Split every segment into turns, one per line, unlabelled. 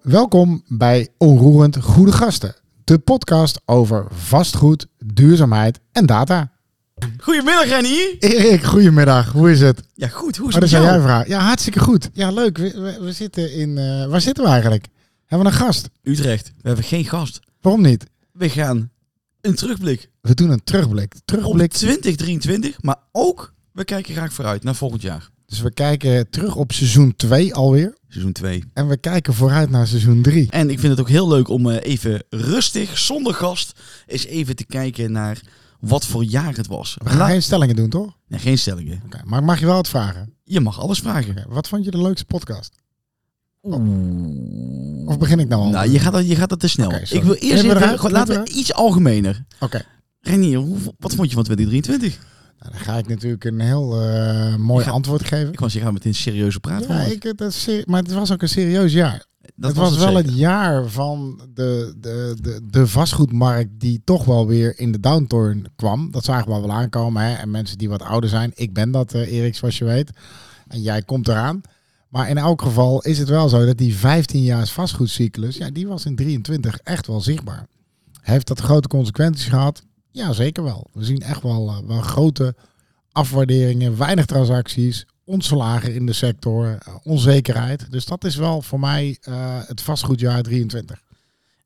Welkom bij Onroerend Goede Gasten, de podcast over vastgoed, duurzaamheid en data.
Goedemiddag, Renny.
Erik, goedemiddag. Hoe is het?
Ja, goed. Hoe is
Oh, dat
het met
zijn
jou?
jouw vraag. Ja, hartstikke goed. Ja, leuk. We, we- we zitten in. eh, waar zitten we eigenlijk? Hebben we een gast?
Utrecht. We hebben geen gast.
Waarom niet?
We gaan een terugblik
We doen een terugblik.
op
Terugblik.
2023, maar ook we kijken graag vooruit naar volgend jaar.
Dus we kijken terug op seizoen 2 alweer.
Seizoen 2.
En we kijken vooruit naar seizoen 3.
En ik vind het ook heel leuk om eh, even rustig, zonder gast, eens even te kijken naar wat voor jaar het was.
We gaan
La-
geen stellingen doen, toch?
Nee, geen stellingen.
Oké, Maar mag je wel het vragen?
Je mag alles vragen.
Oké, Wat vond je de leukste podcast?
Oeh.
Of begin ik nou al?
Nou, je gaat dat, je gaat dat te snel.
Oké, sorry.
ik wil eerst
Knippen
even,
eruit,
gewoon- laten we
knippen
iets algemener.
Oké.
Renier, hoe, wat vond je van 2023?
Nou, dan ga ik natuurlijk een heel eh, mooi
Ik ga-
antwoord geven.
Ik was hier gaan met een serieuze praat.
Ja, ik, dat is serie- maar het was ook een serieus jaar.
Dat
het was,
het
wel
zeker.
het jaar van de, de, de, de vastgoedmarkt die toch wel weer in de downturn kwam. Dat zagen we al wel aankomen. Hè? En mensen die wat ouder zijn. Ik ben dat, eh, Erik, zoals je weet. En jij komt eraan. Maar in elk geval is het wel zo dat die 15 jaar vastgoedcyclus, ja, die was in 23 echt wel zichtbaar. Heeft dat grote consequenties gehad? Ja, zeker wel. We zien echt wel, eh, wel grote afwaarderingen, weinig transacties, ontslagen in de sector, eh, onzekerheid. Dus dat is wel voor mij eh, het vastgoedjaar 23.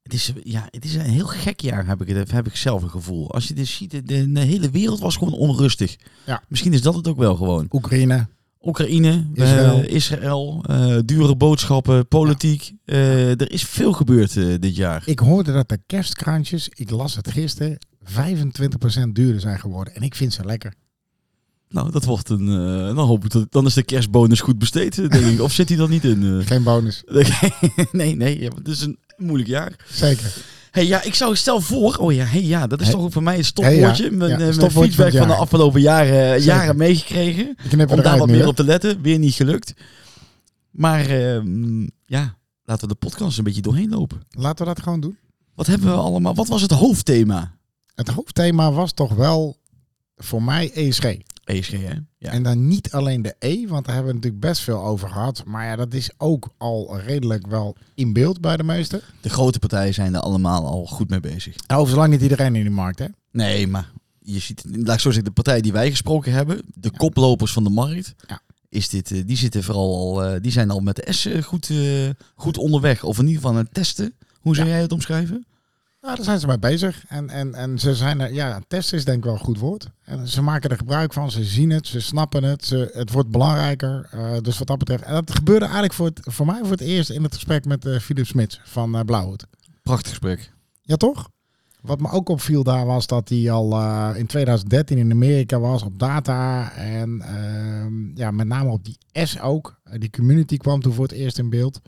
Het is, ja, het is een heel gek jaar, heb ik, het, heb ik zelf een gevoel. Als je dit ziet, de, de- de hele wereld was gewoon onrustig.
Ja.
Misschien is dat het ook wel gewoon.
Oekraïne.
Oekraïne, eh,
Israël.
Israël eh, dure boodschappen, politiek. Eh, er is veel gebeurd eh, dit jaar.
Ik hoorde dat de kerstkrantjes, ik las het gisteren, 25% duurder zijn geworden. En ik vind ze lekker.
Nou, dat wordt een... eh, dan, hoop ik dat, dan is de kerstbonus goed besteed, eh, denk ik. Of zit hij dat niet in? eh?
Geen bonus.
nee, nee. Ja, het is een moeilijk jaar.
Zeker.
hey, ja, ik zou stel voor... Oh ja, hey, ja dat is
Hey.
toch ook voor mij het
Hey, ja.
stopwoordje. Mijn,
Ja,
eh, mijn
stopwoordje van het
feedback van de
jaar.
afgelopen jaren, eh,
Zeker.
jaren meegekregen.
Ik knip
om daar
eruit
wat
nu.
meer
hè?
op te letten. Weer niet gelukt. Maar ehm, ja, laten we de podcast een beetje doorheen lopen.
Laten we dat gewoon doen.
Wat hebben we allemaal? Wat was het hoofdthema?
Het hoofdthema was toch wel voor mij ESG.
ESG, E hè? Ja.
En dan niet alleen de E, want daar hebben we natuurlijk best veel over gehad. Maar ja, dat is ook al redelijk wel in beeld bij de meesten.
De grote partijen zijn er allemaal al goed mee bezig.
Nou, over zolang niet iedereen in die markt, hè?
Nee, maar je ziet, laat ik zo zeggen, de partijen die wij gesproken hebben, de koplopers van de markt,
Ja.
is dit, eh, die, zitten vooral al, eh, die zijn al met de S eh, goed, eh, goed onderweg. Of in ieder geval aan het testen. Hoe zou jij het omschrijven?
Nou, daar zijn ze mee bezig. En, en, en ze zijn er, ja, testen is denk ik wel een goed woord. En ze maken er gebruik van, ze zien het, ze snappen het, ze, het wordt belangrijker. Eh, dus wat dat betreft. En dat gebeurde eigenlijk voor, het, voor mij voor het eerst in het gesprek met eh, Philip Smits van eh Blauwhoed.
Prachtig gesprek.
Ja, toch? Wat me ook opviel daar was dat hij al eh, in 2013 in Amerika was op data. En ehm, ja, met name op die S ook. Eh, die community kwam toen voor het eerst in beeld.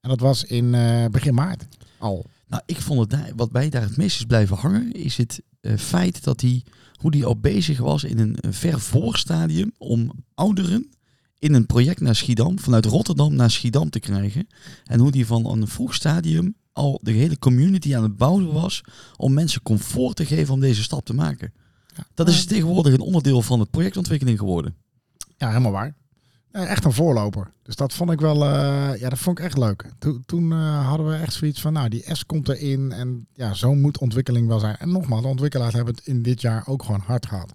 En dat was in eh, begin maart al.
Nou, ik vond het daar, wat mij daar het meest is blijven hangen, is het eh, feit dat hij, hoe hij al bezig was in een, een ver voorstadium om ouderen in een project naar Schiedam, vanuit Rotterdam naar Schiedam te krijgen. En hoe die van een vroeg stadium al de hele community aan het bouwen was om mensen comfort te geven om deze stap te maken. Dat is tegenwoordig een onderdeel van het projectontwikkeling geworden.
Ja, helemaal waar. Eh, Echt een voorloper. Dus dat vond ik wel, eh, ja, dat vond ik echt leuk. Toen, toen eh, hadden we echt zoiets van, nou, die S komt erin en ja, zo moet ontwikkeling wel zijn. En nogmaals, de ontwikkelaars hebben het in dit jaar ook gewoon hard gehad.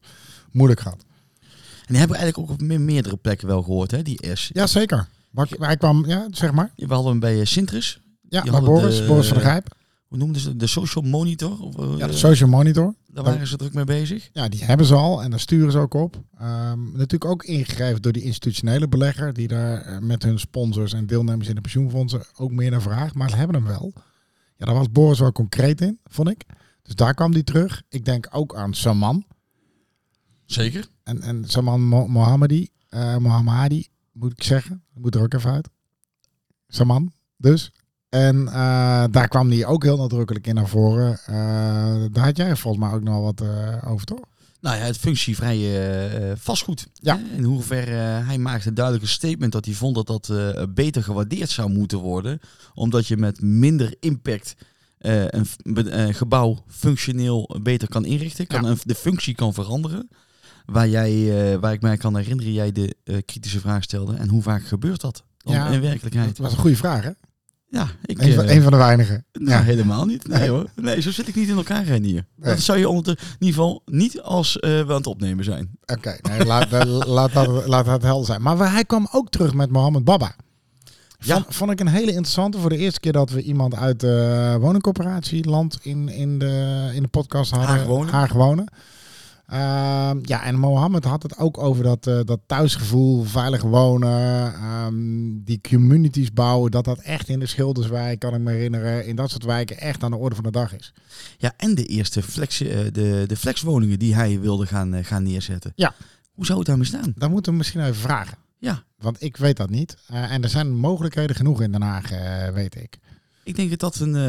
Moeilijk gehad.
En die hebben we eigenlijk ook op me- meerdere plekken wel gehoord, hè, die S.
Ja, zeker. Maar ik- Hij kwam, ja, zeg maar.
We hadden hem bij eh, Sintrus,
Ja,
Die
bij
hadden
Boris,
de-
Boris van der Grijp.
hoe noemden ze dat? De social monitor? Of, eh,
Ja, de Social Monitor.
daar waren ze druk mee bezig.
Ja, die hebben ze al en daar sturen ze ook op. Ehm, natuurlijk ook ingegrepen door die institutionele belegger, die daar eh, met hun sponsors en deelnemers in de pensioenfondsen ook meer naar vraagt. Maar ze hebben hem wel. Ja, daar was Boris wel concreet in, vond ik. Dus daar kwam die terug. Ik denk ook aan Saman.
Zeker.
En, en Saman Mo- Mohammadi, eh Mohammadi, moet ik zeggen. Moet er ook even uit. Saman, dus. En eh, daar kwam die ook heel nadrukkelijk in naar voren. Eh, daar had jij volgens mij ook nog wel wat eh, over, toch?
Nou ja, het functievrije eh, vastgoed.
Ja.
Hè, In hoeverre eh, hij maakte een duidelijke statement dat hij vond dat dat eh, beter gewaardeerd zou moeten worden. Omdat je met minder impact eh, een f- be- eh, gebouw functioneel beter kan inrichten. Kan een- de functie kan veranderen. Waar, jij, eh, waar ik mij kan herinneren, jij de eh, kritische vraag stelde. En hoe vaak gebeurt dat dan
Ja.
in
Dat
werkelijkheid?
was een goede vraag, hè?
Ja, ik...
Een van,
eh,
een van de weinigen.
nou,
ja.
helemaal niet. Nee,
Nee.
hoor. Nee, zo zit ik niet in elkaar rijden hier.
Nee.
Dat zou je onder in ieder geval niet als eh, we aan het opnemen zijn.
Oké, nee, laat, eh, laat, dat, laat dat helder zijn. Maar we- hij kwam ook terug met Mohammed Baba.
Ja.
Vond, vond ik een hele interessante. Voor de eerste keer dat we iemand uit de woningcorporatie land in, in, de, in de podcast hadden.
Haag wonen.
Haag wonen. Ehm, ja, en Mohammed had het ook over dat, eh, dat thuisgevoel, veilig wonen, ehm, die communities bouwen. Dat dat echt in de Schilderswijk, kan ik me herinneren, in dat soort wijken echt aan de orde van de dag is.
Ja, en de eerste flex, eh, de, de flexwoningen die hij wilde gaan, eh, gaan neerzetten.
Ja.
Hoe zou het daarmee staan?
Daar moeten we misschien even vragen.
Ja,
Want ik weet dat niet. Eh, en er zijn mogelijkheden genoeg in Den Haag, eh, weet ik.
ik denk dat dat een... eh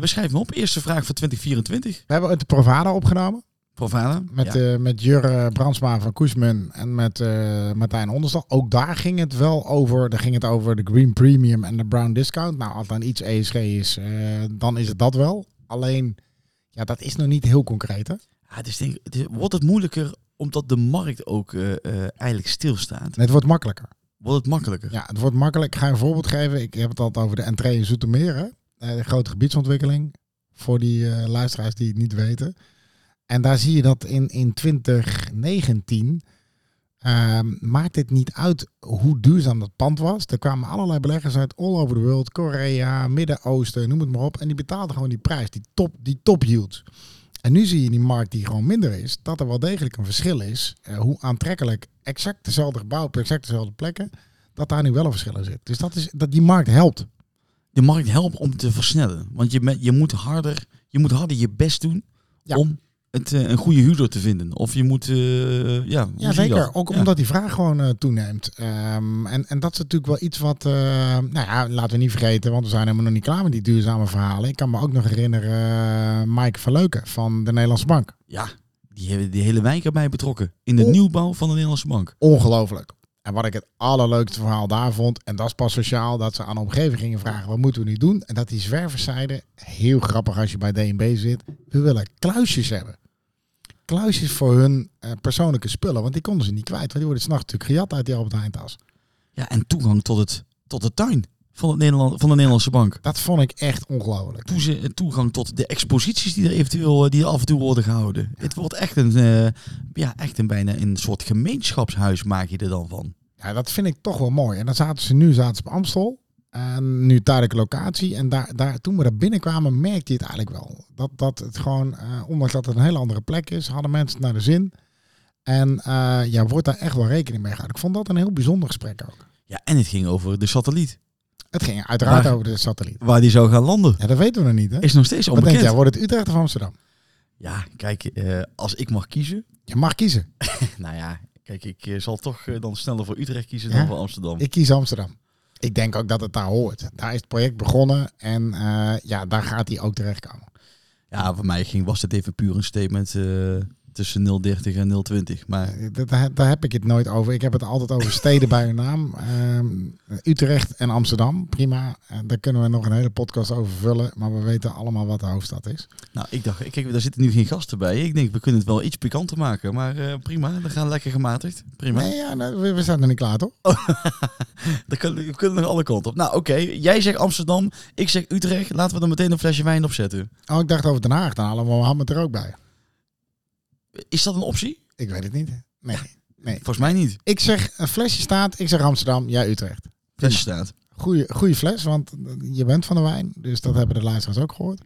we schrijven hem op. Eerste vraag van 2024.
We hebben het de Provada opgenomen.
Provana.
Met,
ja.
eh, met Jurre Brandsma van Koesman en met eh, Martijn Onderstal. Ook daar ging het wel over. Daar ging het over de Green Premium en de Brown Discount. Nou, als dan iets ESG is, eh, dan is het dat wel. Alleen, ja, dat is nog niet heel concreet. Hè?
Ja, dus denk, ik, het is- wordt het moeilijker omdat de markt ook eh, eh, eigenlijk stilstaat?
En Het wordt makkelijker.
Wordt het makkelijker?
Ja, het wordt makkelijk. Ik ga je een voorbeeld geven. Ik heb het altijd over de entree in Zoetermeer. Hè? Eh, de grote gebiedsontwikkeling. Voor die eh, luisteraars die het niet weten. En daar zie je dat in, in 2019 ehm, maakt het niet uit hoe duurzaam dat pand was. Er kwamen allerlei beleggers uit all over the world. Korea, Midden-Oosten, noem het maar op. En die betaalden gewoon die prijs, die top, die top yield. En nu zie je in die markt die gewoon minder is, dat er wel degelijk een verschil is. eh, hoe aantrekkelijk exact dezelfde gebouw op exact dezelfde plekken dat daar nu wel een verschil in zit. Dus dat is, dat die markt helpt.
De markt helpt om te versnellen. Want je, met- je, moet, harder, je moet harder je best doen
Ja.
om het, eh, een goede huurder te vinden. Of je moet... eh, ja, hoe zie
Ja,
je
zeker.
dat?
Ook
Ja.
omdat die vraag gewoon eh, toeneemt. Ehm, en, en dat is natuurlijk wel iets wat, eh, nou ja, laten we niet vergeten, want we zijn helemaal nog niet klaar met die duurzame verhalen. Ik kan me ook nog herinneren, eh, Mike Verleuken van de Nederlandse Bank.
Ja, die hebben die hele wijk erbij betrokken. In de
Oh.
nieuwbouw van de Nederlandse bank.
Ongelooflijk. En wat ik het allerleukste verhaal daar vond, en dat is pas sociaal, dat ze aan de omgeving gingen vragen, wat moeten we nu doen? En dat die zwervers zeiden, heel grappig als je bij DNB zit, we willen kluisjes hebben. Kluisjes voor hun eh, persoonlijke spullen, want die konden ze niet kwijt. Want die worden s'nachts natuurlijk gejat uit die Albert Heijn tas.
Ja, en toegang tot, het, tot de tuin van, het Nederland, van de Nederlandse bank.
Dat vond ik echt ongelooflijk.
Toeze- Toegang tot de exposities die er eventueel eh, die er af en toe worden gehouden. Het wordt echt een, eh, ja, echt een bijna een soort gemeenschapshuis maak je er dan van.
Ja, dat vind ik toch wel mooi. En dan zaten ze nu zaten ze op Amstel. En nu tijdelijke locatie. En daar, daar, toen we daar binnenkwamen, merkte je het eigenlijk wel. Dat, dat het gewoon, eh, ondanks dat het een hele andere plek is, hadden mensen het naar de zin. En eh, ja, wordt daar echt wel rekening mee gehouden. Ik vond dat een heel bijzonder gesprek ook.
Ja, en het ging over de satelliet.
Het ging uiteraard
Maar-
over de satelliet.
Waar die zou gaan landen.
Ja, dat weten we nog niet, hè?
Is nog steeds
Wat denk jij,
onbekend.
wordt het Utrecht of Amsterdam?
Ja, kijk, eh, als ik mag kiezen.
Je mag kiezen.
Nou ja, kijk, ik eh, zal toch eh, dan sneller voor Utrecht kiezen
Ja?
dan voor Amsterdam.
Ik kies Amsterdam. Ik denk ook dat het daar hoort. Daar is het project begonnen en eh, ja, daar gaat hij ook terechtkomen.
Ja, voor mij ging, was dit even puur een statement eh, tussen 030 en 020. Maar
Dat, Eh, daar heb ik het nooit over. Ik heb het altijd over steden bij hun naam. Ehm, Utrecht en Amsterdam, prima. Eh, daar kunnen we nog een hele podcast over vullen. Maar we weten allemaal wat de hoofdstad is.
nou, ik dacht, kijk, daar zitten nu geen gasten bij. Ik denk, we kunnen het wel iets pikanter maken. Maar eh, prima, we gaan lekker gematigd. Prima.
Nee, ja, nou, we, we zijn nog niet klaar, toch?
Dan kunnen, we kunnen nog alle kanten op. Nou, oké. Jij zegt Amsterdam, ik zeg Utrecht. Laten we er meteen een flesje wijn op zetten.
Oh, ik dacht over Den Haag. Dan halen we Mohammed er ook bij.
Is dat een optie?
Ik weet het niet. Nee.
Volgens mij niet.
Ik zeg, een flesje staat. Ik zeg Amsterdam, jij Utrecht.
Flesje staat.
Goeie, goeie fles, want eh, je bent van de wijn. Dus dat hebben de luisteraars ook gehoord.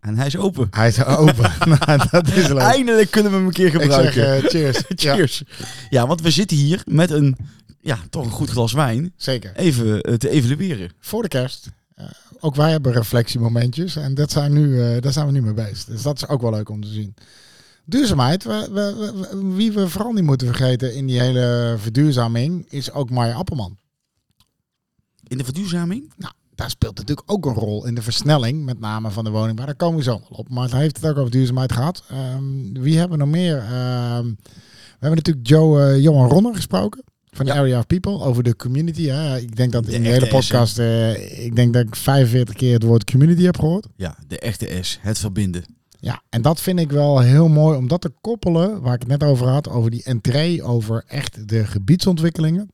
En hij is open.
Hij is open. nou, dat is leuk.
Eindelijk kunnen we hem een keer
Ik zeg
gebruiken.
eh, cheers. Ja,
Cheers. Ja. want we zitten hier met een, ja, toch een goed glas wijn.
zeker.
Even eh, te evalueren.
voor de kerst. eh, ook wij hebben reflectiemomentjes en dat zijn nu, eh, daar zijn we nu mee bezig. Dus dat is ook wel leuk om te zien. Duurzaamheid, we, we, we- we- wie we vooral niet moeten vergeten in die hele verduurzaming, is ook Maya Appelman.
In de verduurzaming
Daar speelt natuurlijk ook een rol in de versnelling, met name van de woning. Maar daar komen we zo wel op. Maar hij heeft het ook over duurzaamheid gehad. Ehm, wie hebben we nog meer? Ehm, we hebben natuurlijk Joe, eh, Johan Ronner gesproken. Van de Area of People over de community. Hè. Ik denk dat
De
in de
echte
hele podcast, eh, ik denk dat ik 45 keer het woord community heb gehoord.
Ja, de echte S, het verbinden.
Ja, en dat vind ik wel heel mooi om dat te koppelen, waar ik het net over had, over die entree, over echt de gebiedsontwikkelingen.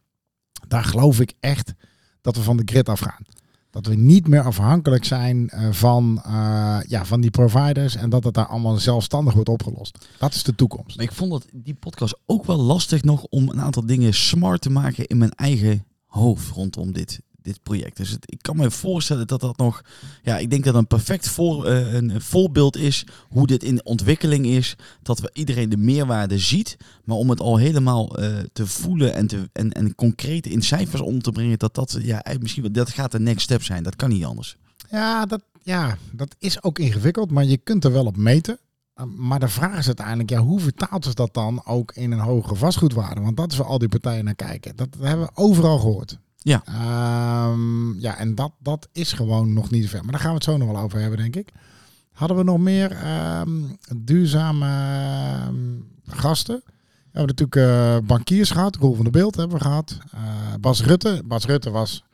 Daar geloof ik echt dat we van de grid afgaan. Dat we niet meer afhankelijk zijn eh, van, eh, ja, van die providers en dat het daar allemaal zelfstandig wordt opgelost. Dat is de toekomst.
Maar ik vond dat die podcast ook wel lastig nog om een aantal dingen smart te maken in mijn eigen hoofd rondom dit, dit project. Dus het- ik kan me voorstellen dat dat nog, ja, ik denk dat een perfect voor, eh, een voorbeeld is hoe dit in ontwikkeling is. Dat we iedereen de meerwaarde ziet, maar om het al helemaal eh, te voelen en, te, en, en concreet in cijfers om te brengen, dat dat, ja, eigenlijk misschien wel, dat gaat de next step zijn. Dat kan niet anders.
Ja dat, ja, dat is ook ingewikkeld, maar je kunt er wel op meten. Uh, Maar de vraag is uiteindelijk, ja, hoe vertaalt zich dat dan ook in een hogere vastgoedwaarde? Want dat is waar al die partijen naar kijken. Dat hebben we overal gehoord.
Ja.
Ehm, ja, en dat, dat is gewoon nog niet ver. Maar daar gaan we het zo nog wel over hebben, denk ik. Hadden we nog meer ehm, duurzame ehm, gasten? We hebben natuurlijk eh, bankiers gehad. Roel van der Beeld hebben we gehad. Eh, Bas Rutte. Bas Rutte was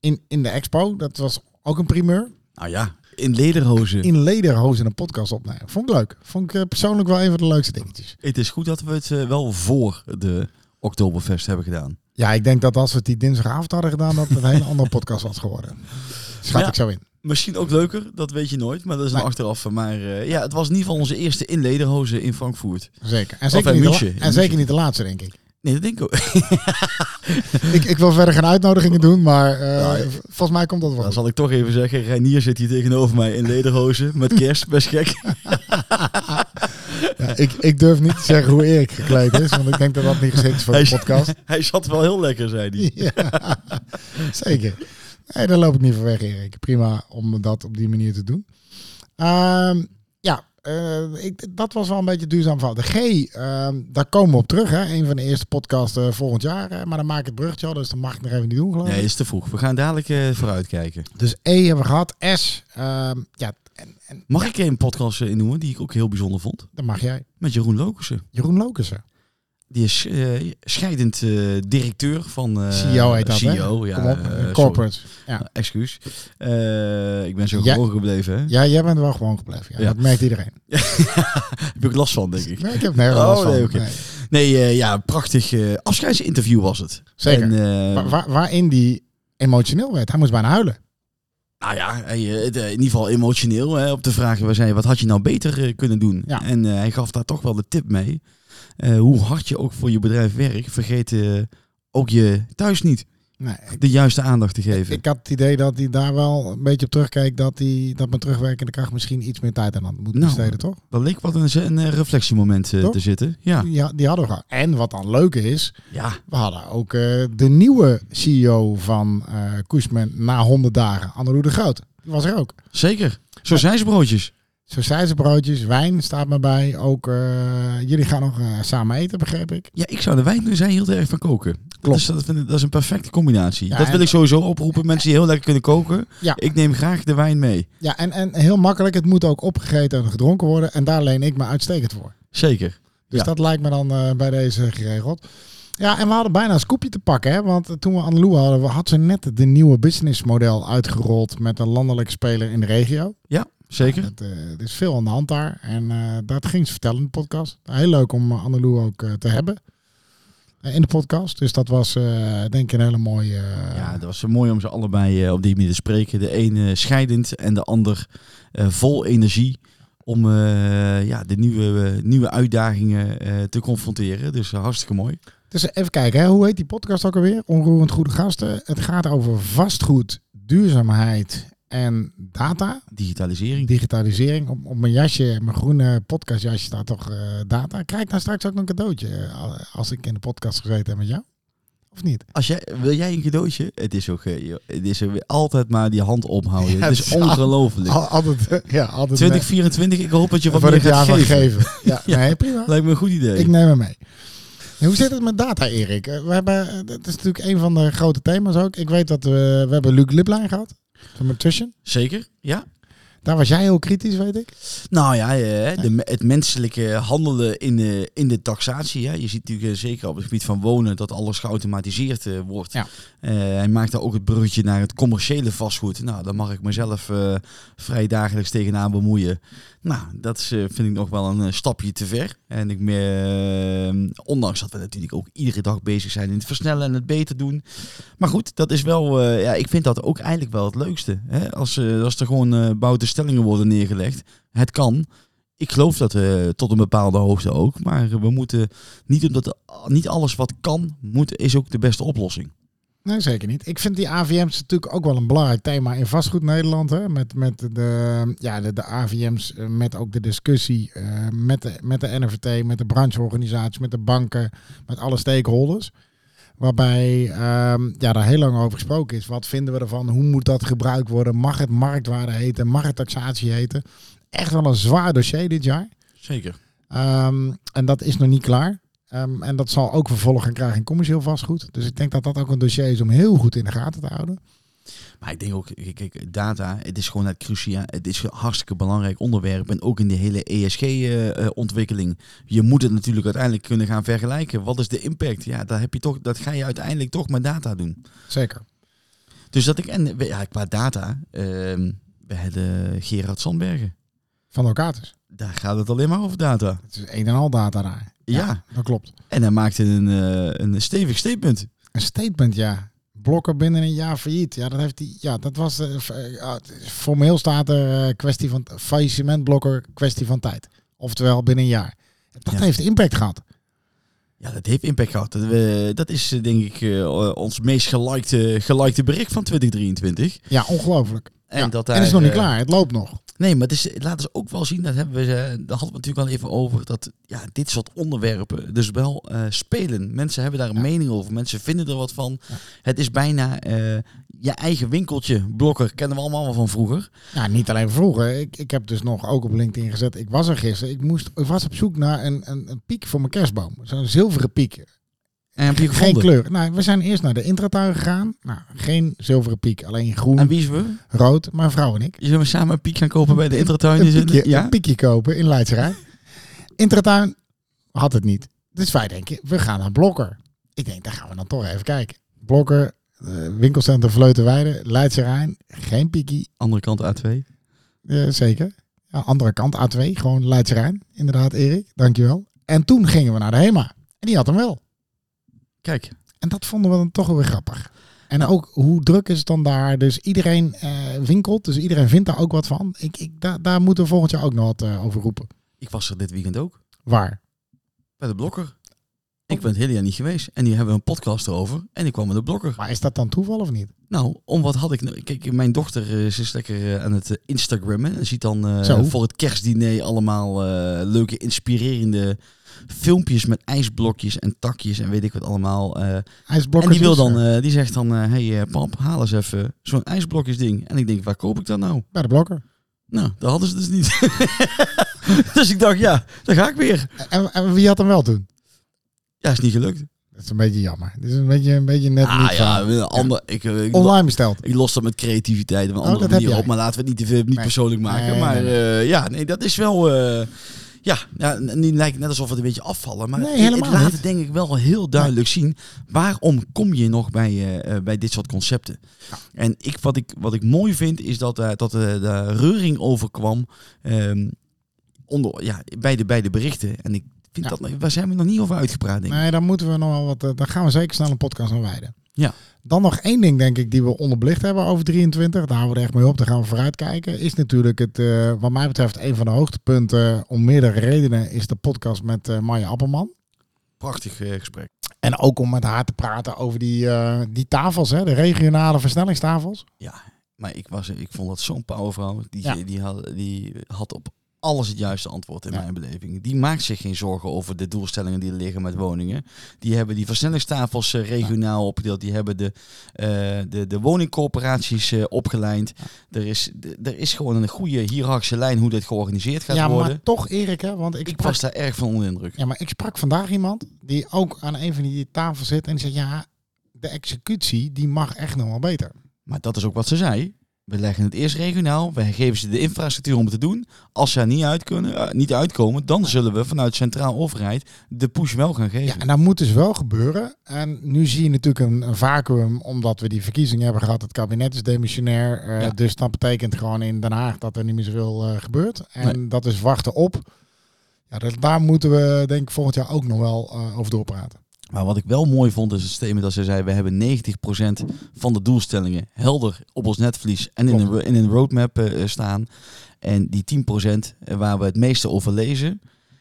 in, in de expo. Dat was ook een primeur.
Nou ja, in lederhozen.
In lederhozen een podcast opnemen. Vond ik leuk. Vond ik eh, persoonlijk wel een van de leukste dingetjes.
Het is goed dat we het eh, wel voor de Oktoberfest hebben gedaan.
Ja, ik denk dat als we het die dinsdagavond hadden gedaan, dat het een hele andere podcast was geworden. Schat
Ja.
ik zo in.
Misschien ook leuker, dat weet je nooit, maar dat is een
Nee.
achteraf. Maar eh, ja, het was in ieder geval onze eerste inlederhozen in Frankfurt.
Zeker. En
Of
zeker,
in
niet de,
München.
la-
In
en zeker niet de laatste, denk ik.
Nee, dat denk ik ook.
ik. Ik wil verder geen uitnodigingen doen, maar eh,
Ja,
v- volgens mij komt dat wel.
Dan zal ik toch even zeggen, Reinier zit hier tegenover mij in lederhozen met kerst, best gek.
Ja, ik, ik durf niet te zeggen hoe Erik gekleed is, want ik denk dat dat niet geschikt is voor
Hij
de
is-
podcast.
Hij zat wel heel lekker, zei hij.
Ja, zeker. Nee, daar loop ik niet van weg, Erik. Prima om dat op die manier te doen. Ehm, ja, eh, ik, dat was wel een beetje duurzaam van. De G, ehm, daar komen we op terug. Hè? Een van de eerste podcasts eh, volgend jaar. eh, maar dan maak ik het bruggetje al, dus dat mag ik nog even niet doen, geloof ik.
Nee, is te vroeg. We gaan dadelijk eh vooruitkijken.
Dus E hebben we gehad. S, ehm, ja, en, en
Mag ik een podcast eh, noemen die ik ook heel bijzonder vond?
dan mag jij.
Met Jeroen Lokussen.
Jeroen Lokussen.
Die is eh, scheidend eh, directeur van... eh,
CEO E heet dat, hè?
CEO, ja.
Kom op,
eh,
eh,
sorry.
corporate. Ja.
Ah, Excuus. Eh, ik ben zo
Ja.
geboren gebleven, hè?
ja, jij bent wel gewoon gebleven. Ja.
Ja.
Dat merkt iedereen.
Heb ik last van, denk ik.
Nee, ik heb nergens
Oh,
last van.
nee, oké.
Nee.
Nee, eh, ja, afscheidsinterview eh afscheidsinterview was het.
Zeker.
En, eh,
Wa- waar- waarin die emotioneel werd. Hij moest bijna huilen.
nou ja, hij, eh, het, eh, in ieder geval emotioneel hè, op de vraag waar zei, wat had je nou beter eh, kunnen doen?
Ja.
En eh, hij gaf daar toch wel de tip mee. Eh, hoe hard je ook voor je bedrijf werkt, vergeet eh, ook je thuis niet
Nee, ik,
de juiste aandacht te geven.
ik had het idee dat hij daar wel een beetje op terugkeek. Dat, hij, dat mijn terugwerkende kracht misschien iets meer tijd aan had moeten
Nou.
besteden, toch?
dat leek wat een, een eh, reflectiemoment eh,
Toch?
te zitten. Ja.
Ja, die hadden we gehad. En wat dan leuk is,
ja,
we hadden ook eh, de nieuwe CEO van eh Koesman na 100 dagen, Anneloe de Groot. Die was er ook.
zeker. Zo zijn ze broodjes.
broodjes, wijn staat me bij. Ook eh, jullie gaan nog eh, samen eten, begreep ik.
Ja, ik zou de wijn nu zijn heel erg van koken.
Klopt.
Dat is, dat, vind ik- dat is een perfecte combinatie.
Ja,
dat wil
en-
ik sowieso oproepen. Mensen die heel lekker kunnen koken.
Ja.
Ik neem graag de wijn mee.
Ja, en, en heel makkelijk. Het moet ook opgegeten en gedronken worden. En daar leen ik me uitstekend voor.
Zeker.
Dus
Ja.
dat lijkt me dan eh, bij deze geregeld. Ja, en we hadden bijna een scoopje te pakken. Hè? Want eh, toen we Anlou hadden, we- had ze net de nieuwe businessmodel uitgerold met een landelijke speler in de regio.
Zeker.
Het, eh, er is veel aan de hand daar. En eh, dat ging ze vertellen in de podcast. Heel leuk om eh, Anneloe ook eh, te hebben eh, in de podcast. Dus dat was eh, denk ik een hele mooie... eh,
Ja, dat was zo mooi om ze allebei eh, op die manier te spreken. De ene scheidend en de ander eh, vol energie. Om eh, ja, de nieuwe, eh, nieuwe uitdagingen eh, te confronteren. Dus eh, hartstikke mooi.
Dus even kijken, hè? hoe heet die podcast ook alweer? Onroerend Goede Gasten. Het gaat over vastgoed, duurzaamheid en data.
Digitalisering.
digitalisering. Op, op mijn jasje, mijn groene podcastjasje staat toch eh, data. Krijg ik nou straks ook een cadeautje eh, als ik in de podcast gezeten heb met jou? Of niet?
Als jij, wil jij een cadeautje? Het is, ook, eh, joh, het is ook altijd maar die hand ophouden.
Ja,
het
het
is
is al-
ongelooflijk.
Al, altijd, eh, ja, altijd
2024, ik hoop dat je
eh,
wat
voor
meer
het
gaat
jaar van
geven.
geven. Ja,
Ja.
Nee, prima.
Lijkt me een goed idee.
Ik neem hem mee. En hoe zit het met data, Erik? Eh, We hebben, eh, dat is natuurlijk een van de grote thema's ook. Ik weet dat we, we hebben Luc Liplijn gehad, van Nutrition.
Zeker, ja.
Daar was jij heel kritisch, weet ik.
Nou ja, eh, de, het menselijke handelen in de, in de taxatie. Hè. Je ziet natuurlijk eh, zeker op het gebied van wonen dat alles geautomatiseerd eh, wordt.
Ja.
Eh, hij maakt daar ook het bruggetje naar het commerciële vastgoed. Nou, daar mag ik mezelf eh, vrij dagelijks tegenaan bemoeien. Nou, dat is, eh, vind ik nog wel een eh, stapje te ver. En ik, me- eh, ondanks dat we natuurlijk ook iedere dag bezig zijn in het versnellen en het beter doen. Maar goed, dat is wel, eh, ja, ik vind dat ook eigenlijk wel het leukste. Hè? Als, eh, als er gewoon eh bouten stellingen worden neergelegd. Het kan. Ik geloof dat eh, tot een bepaalde hoogte ook. Maar eh, we moeten niet omdat niet alles wat kan, moet, is ook de beste oplossing.
Nee, zeker niet. Ik vind die AVM's natuurlijk ook wel een belangrijk thema in vastgoed Nederland. Hè? Met, met de, ja, de, de AVM's, eh, met ook de discussie eh, met, de, met de NVT, met de brancheorganisaties, met de banken, met alle stakeholders. Waarbij ehm, ja, daar heel lang over gesproken is. Wat vinden we ervan? Hoe moet dat gebruikt worden? Mag het marktwaarde heten? Mag het taxatie heten? Echt wel een zwaar dossier dit jaar.
Zeker.
Ehm, en dat is nog niet klaar. Ehm, en dat zal ook vervolg gaan krijgen in commercieel vastgoed. Dus ik denk dat dat ook een dossier is om heel goed in de gaten te houden.
Maar ik denk ook, kijk, kijk, data, het is gewoon het crucia, het is een hartstikke belangrijk onderwerp. En ook in die hele E ESG-ontwikkeling. eh, je moet het natuurlijk uiteindelijk kunnen gaan vergelijken. Wat is de impact? Ja, daar heb je toch, dat ga je uiteindelijk toch met data doen.
Zeker.
Dus dat ik, en we- ja, qua data, ehm, we hebben Gerard Sandbergen.
Van Locatus.
Daar gaat het alleen maar over data.
Het is een en al data daar.
ja.
Dat klopt.
En hij maakte een, eh, een stevig statement.
Een statement, ja. Blokken binnen een jaar failliet. Ja, dat, heeft die, ja, dat was... eh, v- eh, ah, formeel staat er eh, kwestie van... Faillissementblokker, kwestie van tijd. Oftewel binnen een jaar. Dat
Ja.
heeft impact gehad.
Ja, dat heeft impact gehad. Dat, we- dat is eh, denk ik eh, ons meest gelikte, gelikte bericht van 2023.
Ja, ongelooflijk.
En
ja.
dat
en het is nog niet
daar, eh,
klaar. Het loopt nog.
Nee, maar het is, het laat ons ook wel zien, dat hebben we, eh, daar hadden we natuurlijk wel even over, dat ja, dit soort onderwerpen dus wel eh, spelen. Mensen hebben daar een
Ja.
mening over, mensen vinden er wat van.
Ja.
Het is bijna eh, je eigen winkeltje, blokker, kennen we allemaal wel van vroeger.
Nou, niet alleen vroeger. Ik, ik heb dus nog ook op LinkedIn gezet. Ik was er gisteren. Ik, moest, ik was op zoek naar een, een, een piek voor mijn kerstboom. Zo'n zilveren piek.
En heb je
Geen
gevonden?
kleur. Nou, we zijn eerst naar de intratuin gegaan. Nou, geen zilveren piek. Alleen groen,
En wie is we?
rood. Mijn vrouw en ik.
Zullen we samen een piek gaan kopen bij de intratuin?
Een
Is het-
piekje,
ja?
een piekje kopen in Leidserij. intratuin had het niet. Dus wij denken, we gaan naar Blokker. Ik denk, daar gaan we dan toch even kijken. Blokker, eh, winkelcentrum Vleutenweide, Leidse Rijn. Geen piekie.
Andere kant A2.
Ja, Eh, zeker. Ja, andere kant, A2, gewoon Leidse Rijn. Inderdaad, Erik, dankjewel. En toen gingen we naar de HEMA. En die had hem wel.
Kijk,
En dat vonden we dan toch wel weer grappig. En ook, hoe druk is het dan daar? Dus iedereen eh, winkelt, dus iedereen vindt daar ook wat van. Ik, ik, da- daar moeten we volgend jaar ook nog wat eh, over roepen.
ik was er dit weekend ook.
Waar?
Bij de blokker. Ik ben het hele jaar niet geweest. En nu hebben we een podcast erover. En ik kwam met de blokker.
Maar is dat dan toeval of niet?
Nou, om wat had ik... nou- Kijk, mijn dochter eh, ze is lekker eh, aan het eh, Instagrammen. En ziet dan eh,
Zo.
voor het kerstdiner allemaal eh, leuke, inspirerende filmpjes met ijsblokjes en takjes en weet ik wat allemaal. eh.
Hij is dus,
en die wil dan, eh, die zegt dan, eh, hey eh, pap, haal eens even zo'n ijsblokjesding. En ik denk, waar koop ik dat nou?
Bij de blokker.
Nou, dat hadden ze dus niet. dus ik dacht, ja, daar ga ik weer.
En, en wie had hem wel toen?
Ja, is niet gelukt.
Dat is een beetje jammer. Dit is een beetje, een beetje net niet
Ah ja,
verhaal.
een ander, ik, eh, ik,
Online besteld.
Ik los dat met creativiteit op een
Oh,
andere
dat heb
manier
jij.
op. Maar laten we het niet, te veel, niet
Nee.
persoonlijk maken.
Nee,
maar
nee,
eh, ja, nee, dat is wel... eh, ja, ja, n- niet lijkt net alsof we het een beetje afvallen. Maar
Nee,
het- het
helemaal
laat
niet.
het denk ik wel heel duidelijk zien. Waarom kom je nog bij, eh, eh, bij dit soort concepten? En ik, wat, ik, wat ik mooi vind is dat, eh, dat eh, de reuring overkwam... ehm, onder, ja, bij, de, bij de berichten. En ik vind
Ja.
dat... Waar zijn we nog niet over uitgepraat, denk ik.
Nee, dan moeten we nog wel wat. eh, Daar gaan we zeker snel een podcast aan wijden.
Ja.
Dan nog één ding, denk ik, die we onderbelicht hebben over 23. Daar houden we er echt mee op. Daar gaan we vooruitkijken. Is natuurlijk het, eh, wat mij betreft, een van de hoogtepunten. eh, Om meerdere redenen is de podcast met eh Maya Appelman.
Prachtig eh, gesprek.
En ook om met haar te praten over die, eh, die tafels, hè, de regionale versnellingstafels.
Maar ik, was, ik vond dat zo'n powervrouw. Die,
Ja.
die, had, die had op alles het juiste antwoord in
Ja.
mijn beleving. Die maakt zich geen zorgen over de doelstellingen die er liggen met woningen. Die hebben die versnellingstafels eh, regionaal opgedeeld. Die hebben de, eh, de, de woningcorporaties eh, opgeleind. Er, is, d- er is gewoon een goede hiërarchische lijn hoe dit georganiseerd gaat
ja,
worden.
maar toch, Erik, hè, want ik,
Ik
sprak,
was daar erg van onder de indruk.
ja, maar ik sprak vandaag iemand die ook aan een van die tafels zit. En die zegt: Ja, de executie die mag echt nog wel beter.
Maar dat is ook wat ze zei. we leggen het eerst regionaal, we geven ze de infrastructuur om het te doen. Als ze er niet, uit kunnen, eh, niet uitkomen, dan zullen we vanuit centraal overheid de push wel gaan geven.
Ja, en dat moet dus wel gebeuren. En nu zie je natuurlijk een, een vacuüm, omdat we die verkiezingen hebben gehad. Het kabinet is demissionair. eh,
Ja.
Dus dat betekent gewoon in Den Haag dat er niet meer zoveel eh, gebeurt. En dat is wachten op. Ja, dat, daar moeten we denk ik volgend jaar ook nog wel eh, over doorpraten.
Maar wat ik wel mooi vond is het statement dat ze zei... we hebben 90% van de doelstellingen helder op ons netvlies en in,
Klopt.
een, in een roadmap eh, eh, staan. En die 10% waar we het meeste over lezen...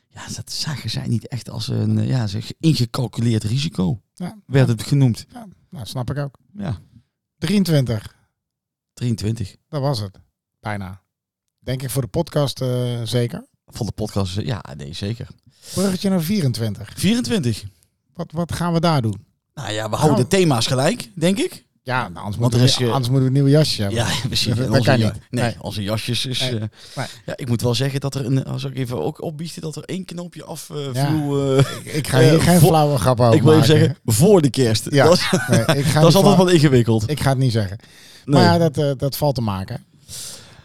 Ja, dat zagen zij niet echt als een eh, ja, zeg, ingecalculeerd risico,
Ja.
werd het genoemd.
Ja, nou, snap ik ook.
Ja,
23,
23.
dat was het. Bijna. Denk ik voor de podcast eh, zeker.
Van de podcast, eh, ja, nee, zeker.
Bruggetje naar 24.
24.
Wat, wat gaan we daar doen?
Nou ja, we houden
Nou.
de thema's gelijk, denk ik.
Ja, nou, anders,
Want
moeten
er
we,
is ge-
anders moeten we een nieuw jasje hebben.
Ja, precies.
dat
En onze
kan
ja-
niet.
Nee,
Nee.
onze jasjes is...
Nee.
eh,
Nee.
Ja, ik moet wel zeggen dat er een... Als ik even ook opbiechten dat er één knoopje afviel...
Ja. Ik ga
Eh,
hier geen
vo-
flauwe grap over
ik wil even
maken.
zeggen, voor de kerst.
Ja.
Dat, is-
Nee, ik ga niet
dat is altijd
flauw-
wat ingewikkeld.
Ik ga het niet zeggen.
Nee.
Maar ja, dat, eh, dat valt te maken.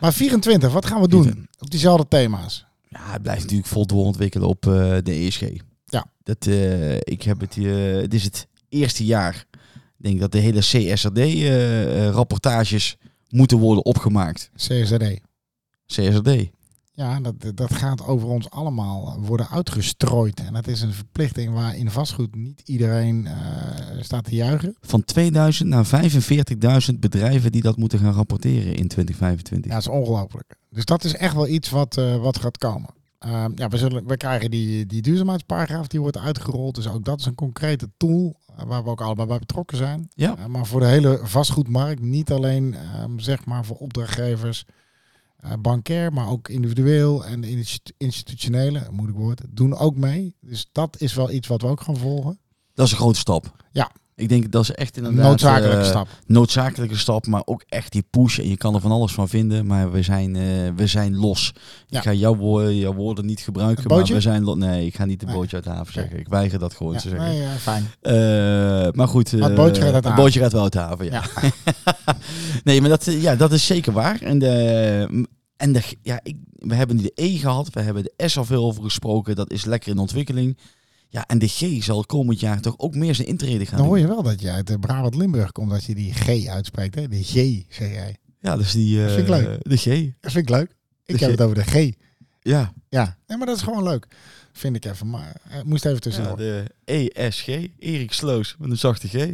Maar 24, wat gaan we doen?
24.
Op diezelfde thema's.
Ja, het blijft natuurlijk vol doorontwikkelen op eh, de ESG.
Ja.
Dat, eh, ik heb het, eh het is het eerste jaar, denk ik, dat de hele CSRD-rapportages eh, moeten worden opgemaakt.
CSRD.
CSRD.
Ja, dat, dat gaat over ons allemaal worden uitgestrooid. En dat is een verplichting waar in vastgoed niet iedereen eh, staat te juichen.
Van 2000 naar 45.000 bedrijven die dat moeten gaan rapporteren in 2025.
Ja, dat is ongelooflijk. Dus dat is echt wel iets wat, eh, wat gaat komen. Ehm, ja, we, zullen, we krijgen die, die duurzaamheidsparagraaf, die wordt uitgerold. Dus ook dat is een concrete tool eh, waar we ook allemaal bij betrokken zijn.
Ja.
Eh, maar voor de hele vastgoedmarkt, niet alleen ehm, zeg maar voor opdrachtgevers, eh, bankair, maar ook individueel en institu- institutionele, moeilijk woord, doen ook mee. Dus dat is wel iets wat we ook gaan volgen.
Dat is een grote stap.
Ja.
Ik denk dat is echt
Een
inderdaad...
noodzakelijke
eh,
stap.
noodzakelijke stap, maar ook echt die push. En je kan er van alles van vinden, maar we zijn, eh, we zijn los.
Ja.
Ik ga jouw, woorden, jouw woorden niet gebruiken,
Een
maar
bootje?
we zijn los. Nee, ik ga niet de
Nee.
bootje uit de haven
Oké.
zeggen. Ik weiger dat gewoon te
Ja,
zeggen.
nee, eh, fijn.
Eh, maar goed, eh,
Maar het bootje gaat uit de
het
haven.
bootje gaat wel uit de haven. Ja. nee, maar dat, eh, ja, dat is zeker waar. En, de, eh, en de, ja, ik, we hebben de E gehad, we hebben de S al veel over gesproken. Dat is lekker in ontwikkeling. Ja, en de G zal komend jaar toch ook meer zijn intrede gaan
Dan hoor
doen.
je wel dat je uit eh, Brabant-Limburg komt als je die G uitspreekt. Hè? Die G, zeg jij.
Ja, dus die, eh,
Dat vind ik leuk.
de G.
Dat vind ik leuk. Ik
Dus
heb
je-
het over de G.
Ja.
Ja, nee, maar dat is gewoon leuk. Vind ik even. Maar eh, moest even
Ja,
tussendoor.
Dus, de ESG, Erik Sloos met een zachte G.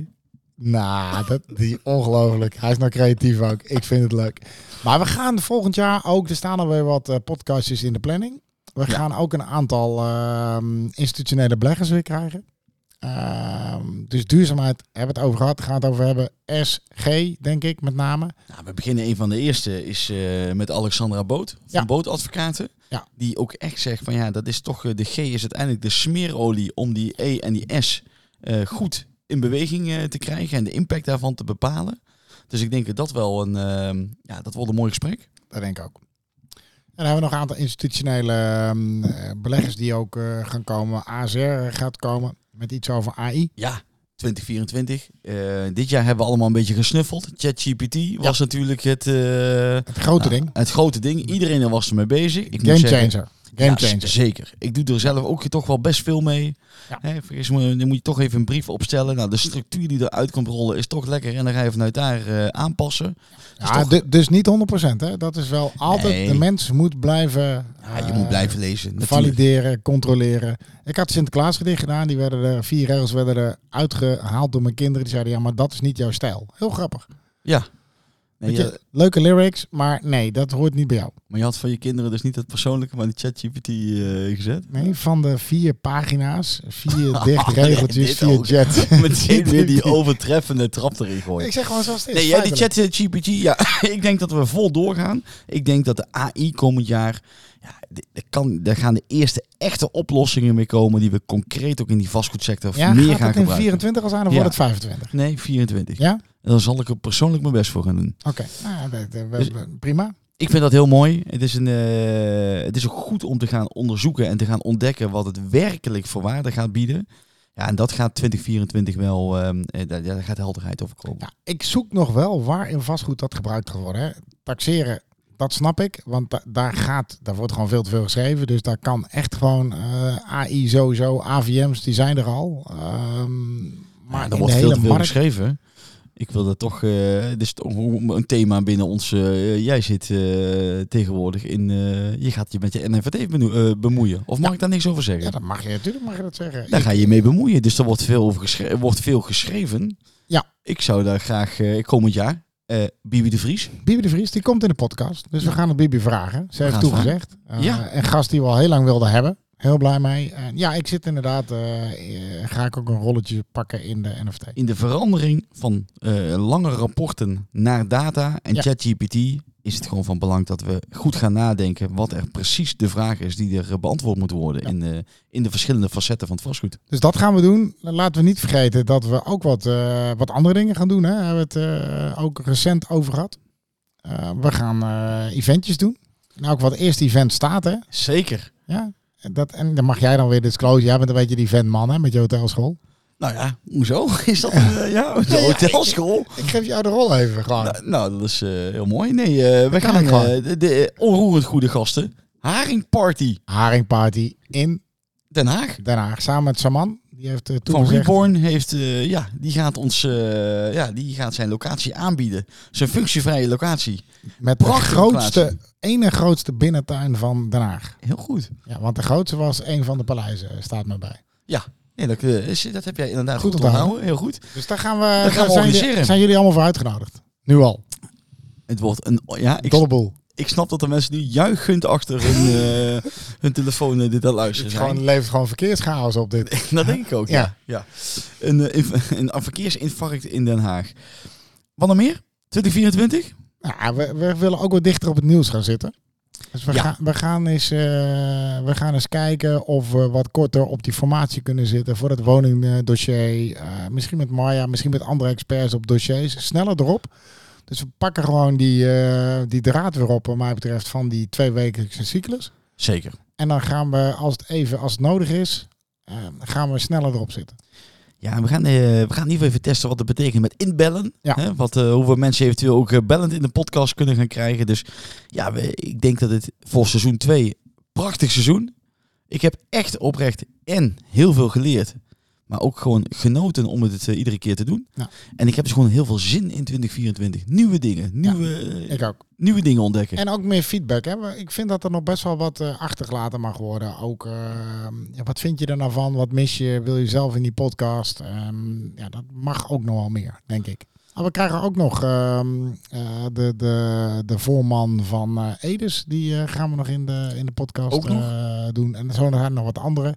Nou, dat, die ongelooflijk. Hij is nou creatief ook. Ik vind het leuk. Maar we gaan volgend jaar ook, er staan alweer wat eh, podcastjes in de planning. We
Ja.
gaan ook een aantal ehm, institutionele beleggers weer krijgen. Ehm, dus duurzaamheid hebben we het over gehad. Gaan we het over hebben. SG, denk ik, met name.
Nou, we beginnen een van de eerste is eh, met Alexandra Boot van
Ja.
Bootadvocaten.
Ja.
Die ook echt zegt van ja, dat is toch eh, de G is uiteindelijk de smeerolie om die E en die S eh, goed in beweging eh, te krijgen en de impact daarvan te bepalen. Dus ik denk dat dat wel een, ehm, ja, dat wordt een mooi gesprek.
Dat denk ik ook. En dan hebben we nog een aantal institutionele ehm, eh, beleggers die ook eh, gaan komen. ASR gaat komen met iets over AI.
Ja, 2024. Eh, dit jaar hebben we allemaal een beetje gesnuffeld. ChatGPT was natuurlijk het, eh,
Het grote
Nou,
ding.
Het grote ding. Iedereen er was ermee bezig. Ik moet
Game
zeggen,
changer. Game
ja, dus-
changer.
z- zeker. Ik doe er zelf ook toch wel best veel mee.
Ja.
Hè, vergis me, dan moet je toch even een brief opstellen. Nou, de structuur die eruit komt rollen is toch lekker. En dan ga je vanuit daar eh, aanpassen.
Ja,
toch-
du- dus niet 100%. Hè? Dat is wel altijd.
Nee.
De mens moet blijven.
Ja, je
eh,
moet blijven lezen. natuurlijk.
Valideren, controleren. Ik had Sinterklaasgedicht gedaan. Die werden er, vier regels werden er uitgehaald door mijn kinderen. Die zeiden, ja, maar dat is niet jouw stijl. Heel grappig.
Ja. Nee,
Weet je,
ja,
Leuke lyrics, maar nee, dat hoort niet bij jou.
Maar je had van je kinderen dus niet het persoonlijke, maar de ChatGPT eh, gezet.
Nee, van de vier pagina's, vier dicht
Oh, Dit
regeltjes, vier
ook.
jet.
Meteen weer die overtreffende trap erin gooien.
Ik zeg gewoon zoals het is.
Nee, ja, die
feitelijk.
chat eh, GPT, ja, ik denk dat we vol doorgaan. Ik denk dat de AI komend jaar, ja, d- er kan, daar gaan de eerste echte oplossingen mee komen die we concreet ook in die vastgoedsector
Ja,
meer
gaat
gaan
het in
gebruiken.
24 als aan of
Ja.
wordt het 25?
Nee, 24.
Ja?
En dan zal ik er persoonlijk mijn best voor gaan doen.
Oké, nou, dat- dat-
Dus-
dat- prima.
Ik vind dat heel mooi. Het is, een, eh, het is ook goed om te gaan onderzoeken en te gaan ontdekken wat het werkelijk voor waarde gaat bieden. Ja, en dat gaat 2024 wel, ehm, eh, daar, daar gaat helderheid over komen.
Ja, ik zoek nog wel waar in vastgoed dat gebruikt gaat worden. Hè. taxeren, dat snap ik. Want da- daar gaat, daar wordt gewoon veel te veel geschreven. Dus daar kan echt gewoon eh, AI sowieso, AVM's, die zijn er al. Ehm, maar
Maar
in
er wordt
de
veel
hele
te veel
markt
geschreven. Ik wil dat toch, eh dit is toch een thema binnen ons. eh, jij zit eh, tegenwoordig in, eh, je gaat je met je NFT's beno- eh, bemoeien. Of mag ik daar niks over zeggen?
Ja, dat mag je natuurlijk mag je dat zeggen.
Daar ga je mee bemoeien. Dus er wordt veel, over geschre- wordt veel geschreven.
Ja.
Ik zou daar graag eh, komend jaar. eh, Bibi de Vries.
Bibi de Vries, die komt in de podcast. Dus
Ja.
we gaan het Bibi vragen. Ze heeft
gaan het
toegezegd. Eh,
Ja.
Een gast die we al heel lang wilden hebben. Heel blij mee. En ja, ik zit inderdaad, eh, eh, ga ik ook een rolletje pakken in de NFT.
In de verandering van eh, lange rapporten naar data en
Ja.
ChatGPT is het gewoon van belang dat we goed gaan nadenken wat er precies de vraag is die er eh, beantwoord moet worden
Ja.
in, de, in de verschillende facetten van het vastgoed.
Dus dat gaan we doen. Laten we niet vergeten dat we ook wat, eh, wat andere dingen gaan doen. Hè. Daar hebben we het eh, ook recent over gehad. Eh, we gaan eh, eventjes doen. Nou, ook wat eerste event staat, hè?
Zeker.
Ja. En Dat, en dan mag jij dan weer disclose. Jij bent een beetje die eventman, hè, met je hotelschool.
Nou ja, hoezo? Is dat een eh, ja, hoezo?
Ja, ja,
hotelschool?
Ik geef jou de rol even gewoon.
Nou, nou, dat is eh, heel mooi. Nee, eh we
kan
gaan
ik
eh,
wel.
de, de onroerend goede gasten. Haringparty
Haringparty in
Den Haag.
Den Haag. Samen met Saman. Die heeft eh,
Van
toegezegd.
Reborn heeft, eh, ja, die gaat ons, eh, ja, die gaat zijn locatie aanbieden. Zijn functievrije locatie.
Met de
Prachtige
grootste, ene grootste binnentuin van Den Haag.
Heel goed.
Ja, want de grootste was een van de paleizen, eh, staat me bij.
Nee, dat, eh, is- dat heb jij inderdaad
Goed
goed,
onthouden.
onthouden. Heel goed.
Dus daar gaan we,
gaan we
zijn jullie-
organiseren.
Zijn jullie allemaal voor uitgenodigd? Nu al.
Het wordt een, ja, ik,
Dolle boel.
ik snap dat de mensen nu juichend achter hun, eh, hun telefoon eh, dit aan luisteren
Het
zijn.
gewoon, levert gewoon verkeerschaos op dit.
dat denk ik ook, ja.
Ja.
ja. Een, eh, inf- een verkeersinfarct in Den Haag. Wat nog meer? 2024?
Ja, Nou, we, we willen ook wat dichter op het nieuws gaan zitten. Dus we,
Ja.
gaan, we, gaan, eens, eh, we gaan eens kijken of we wat korter op die formatie kunnen zitten voor het woningdossier. Eh, misschien met Marja, misschien met andere experts op dossiers. Sneller erop. Dus we pakken gewoon die, eh, die draad weer op, wat mij betreft, van die twee wekelijkse cyclus.
Zeker.
En dan gaan we, als het even als het nodig is, eh, gaan we sneller erop zitten.
Ja, we gaan, eh, we gaan in ieder geval even testen wat het betekent met inbellen.
Ja.
Hè, wat, eh, hoeveel mensen eventueel ook eh, bellend in de podcast kunnen gaan krijgen. Dus ja, we, ik denk dat het voor seizoen 2 prachtig seizoen. Ik heb echt oprecht en heel veel geleerd. Maar ook gewoon genoten om het eh, iedere keer te doen.
Ja.
En ik heb dus gewoon heel veel zin in 2024. Nieuwe dingen, nieuwe, eh,
Ik ook.
nieuwe dingen ontdekken.
En ook meer feedback. Hè? We- Ik vind dat er nog best wel wat eh, achtergelaten mag worden. Ook, eh, ja, wat vind je er nou van? Wat mis je? Wil je zelf in die podcast? Ehm, ja, dat mag ook nog wel meer, denk ik. Maar we krijgen ook nog ehm, eh, de, de, de voorman van eh, Edes. Die eh, gaan we nog in de, in de podcast
Ook nog?
eh, doen. En zo zijn er nog wat andere.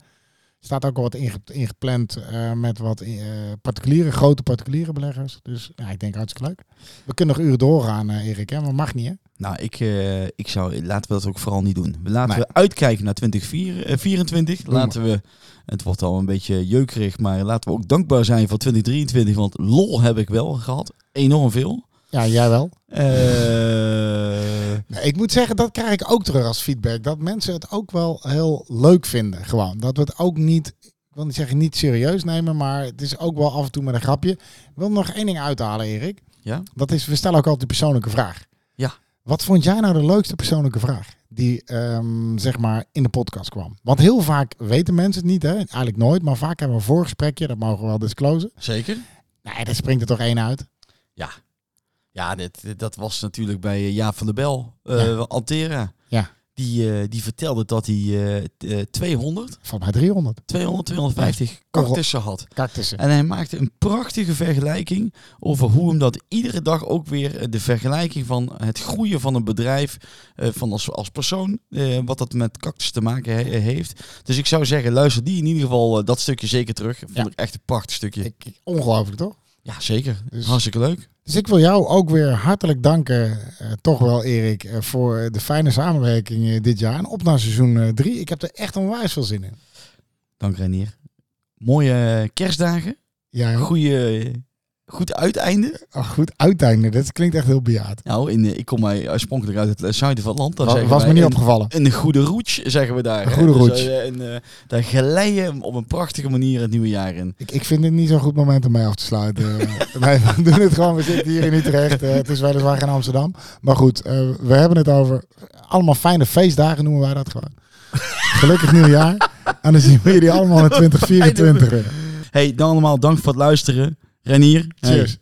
Er staat ook al wat inge- ingepland eh, met wat eh, particuliere, grote particuliere beleggers. Dus ja, ik denk hartstikke leuk. We kunnen nog uren doorgaan, eh, Erik. Hè? Maar mag niet, hè?
Nou, ik, eh, ik zou, laten we dat ook vooral niet doen. We Laten
Nee.
we uitkijken naar 2024.
maar.
Laten we, het wordt al een beetje jeukerig, maar laten we ook dankbaar zijn voor 2023. Want lol heb ik wel gehad. Enorm veel.
Ja, jij wel.
Eh,
Nee, Ik moet zeggen, dat krijg ik ook terug als feedback. Dat mensen het ook wel heel leuk vinden. Gewoon. Dat we het ook niet, ik wil niet zeggen niet serieus nemen, maar het is ook wel af en toe met een grapje. Ik wil nog één ding uithalen, Erik.
Ja?
Dat is, we stellen ook altijd de persoonlijke vraag.
Ja.
Wat vond jij nou de leukste persoonlijke vraag die ehm, zeg maar in de podcast kwam? Want heel vaak weten mensen het niet, hè? eigenlijk nooit, maar vaak hebben we een voorgesprekje, dat mogen we wel disclosen.
Zeker.
Nee, daar springt er toch één uit.
Ja, dit, dit- dat was natuurlijk bij eh, Jaap van der Bel, eh, Altera.
Ja.
Die, eh, die vertelde dat hij eh, t- eh, 200,
Valt mij 300.
200, 250 cactussen had.
Cactussen.
En hij maakte een prachtige vergelijking over hoe hem dat iedere dag ook weer eh, de vergelijking van het groeien van een bedrijf, eh, van als, als persoon, eh, wat dat met cactus te maken he- heeft. Dus ik zou zeggen, luister die in ieder geval eh, dat stukje zeker terug. Vond
Ja.
ik echt een prachtig stukje.
Ik- ik- Ongelooflijk, toch?
ja, zeker.
Dus-
Hartstikke leuk.
Dus ik wil jou ook weer hartelijk danken, eh, toch wel Erik, eh, voor de fijne samenwerking eh, dit jaar. En op naar seizoen 3. ik heb er echt onwijs veel zin in.
Dank Reinier. Mooie eh, kerstdagen.
Ja,
Goede goed uiteinde.
Oh, goed, uiteinde. Dat klinkt echt heel bejaard.
Nou, in, eh, ik kom mij oorspronkelijk uit het eh, zuiden van het land. Daar
Wa-
zeggen
was me
wij
niet
een-
opgevallen.
Een goede roetje, zeggen we daar.
Een
hè.
goede
Dus,
roetje.
eh, en, eh, daar geleien we op een prachtige manier het nieuwe jaar in.
Ik, ik vind dit niet zo'n goed moment om mij af te sluiten. Eh, Wij doen het gewoon. We zitten hier in Utrecht. Eh, het is weliswaar geen Amsterdam. Maar goed, eh, we hebben het over allemaal fijne feestdagen noemen wij dat gewoon. Gelukkig nieuwjaar. En dan zien we jullie allemaal in 2024. weer.
Hey, dan allemaal dank voor het luisteren. Renier, hey,
Cheers.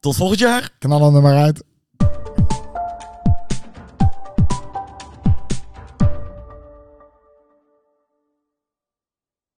tot volgend jaar.
Knallen er maar uit.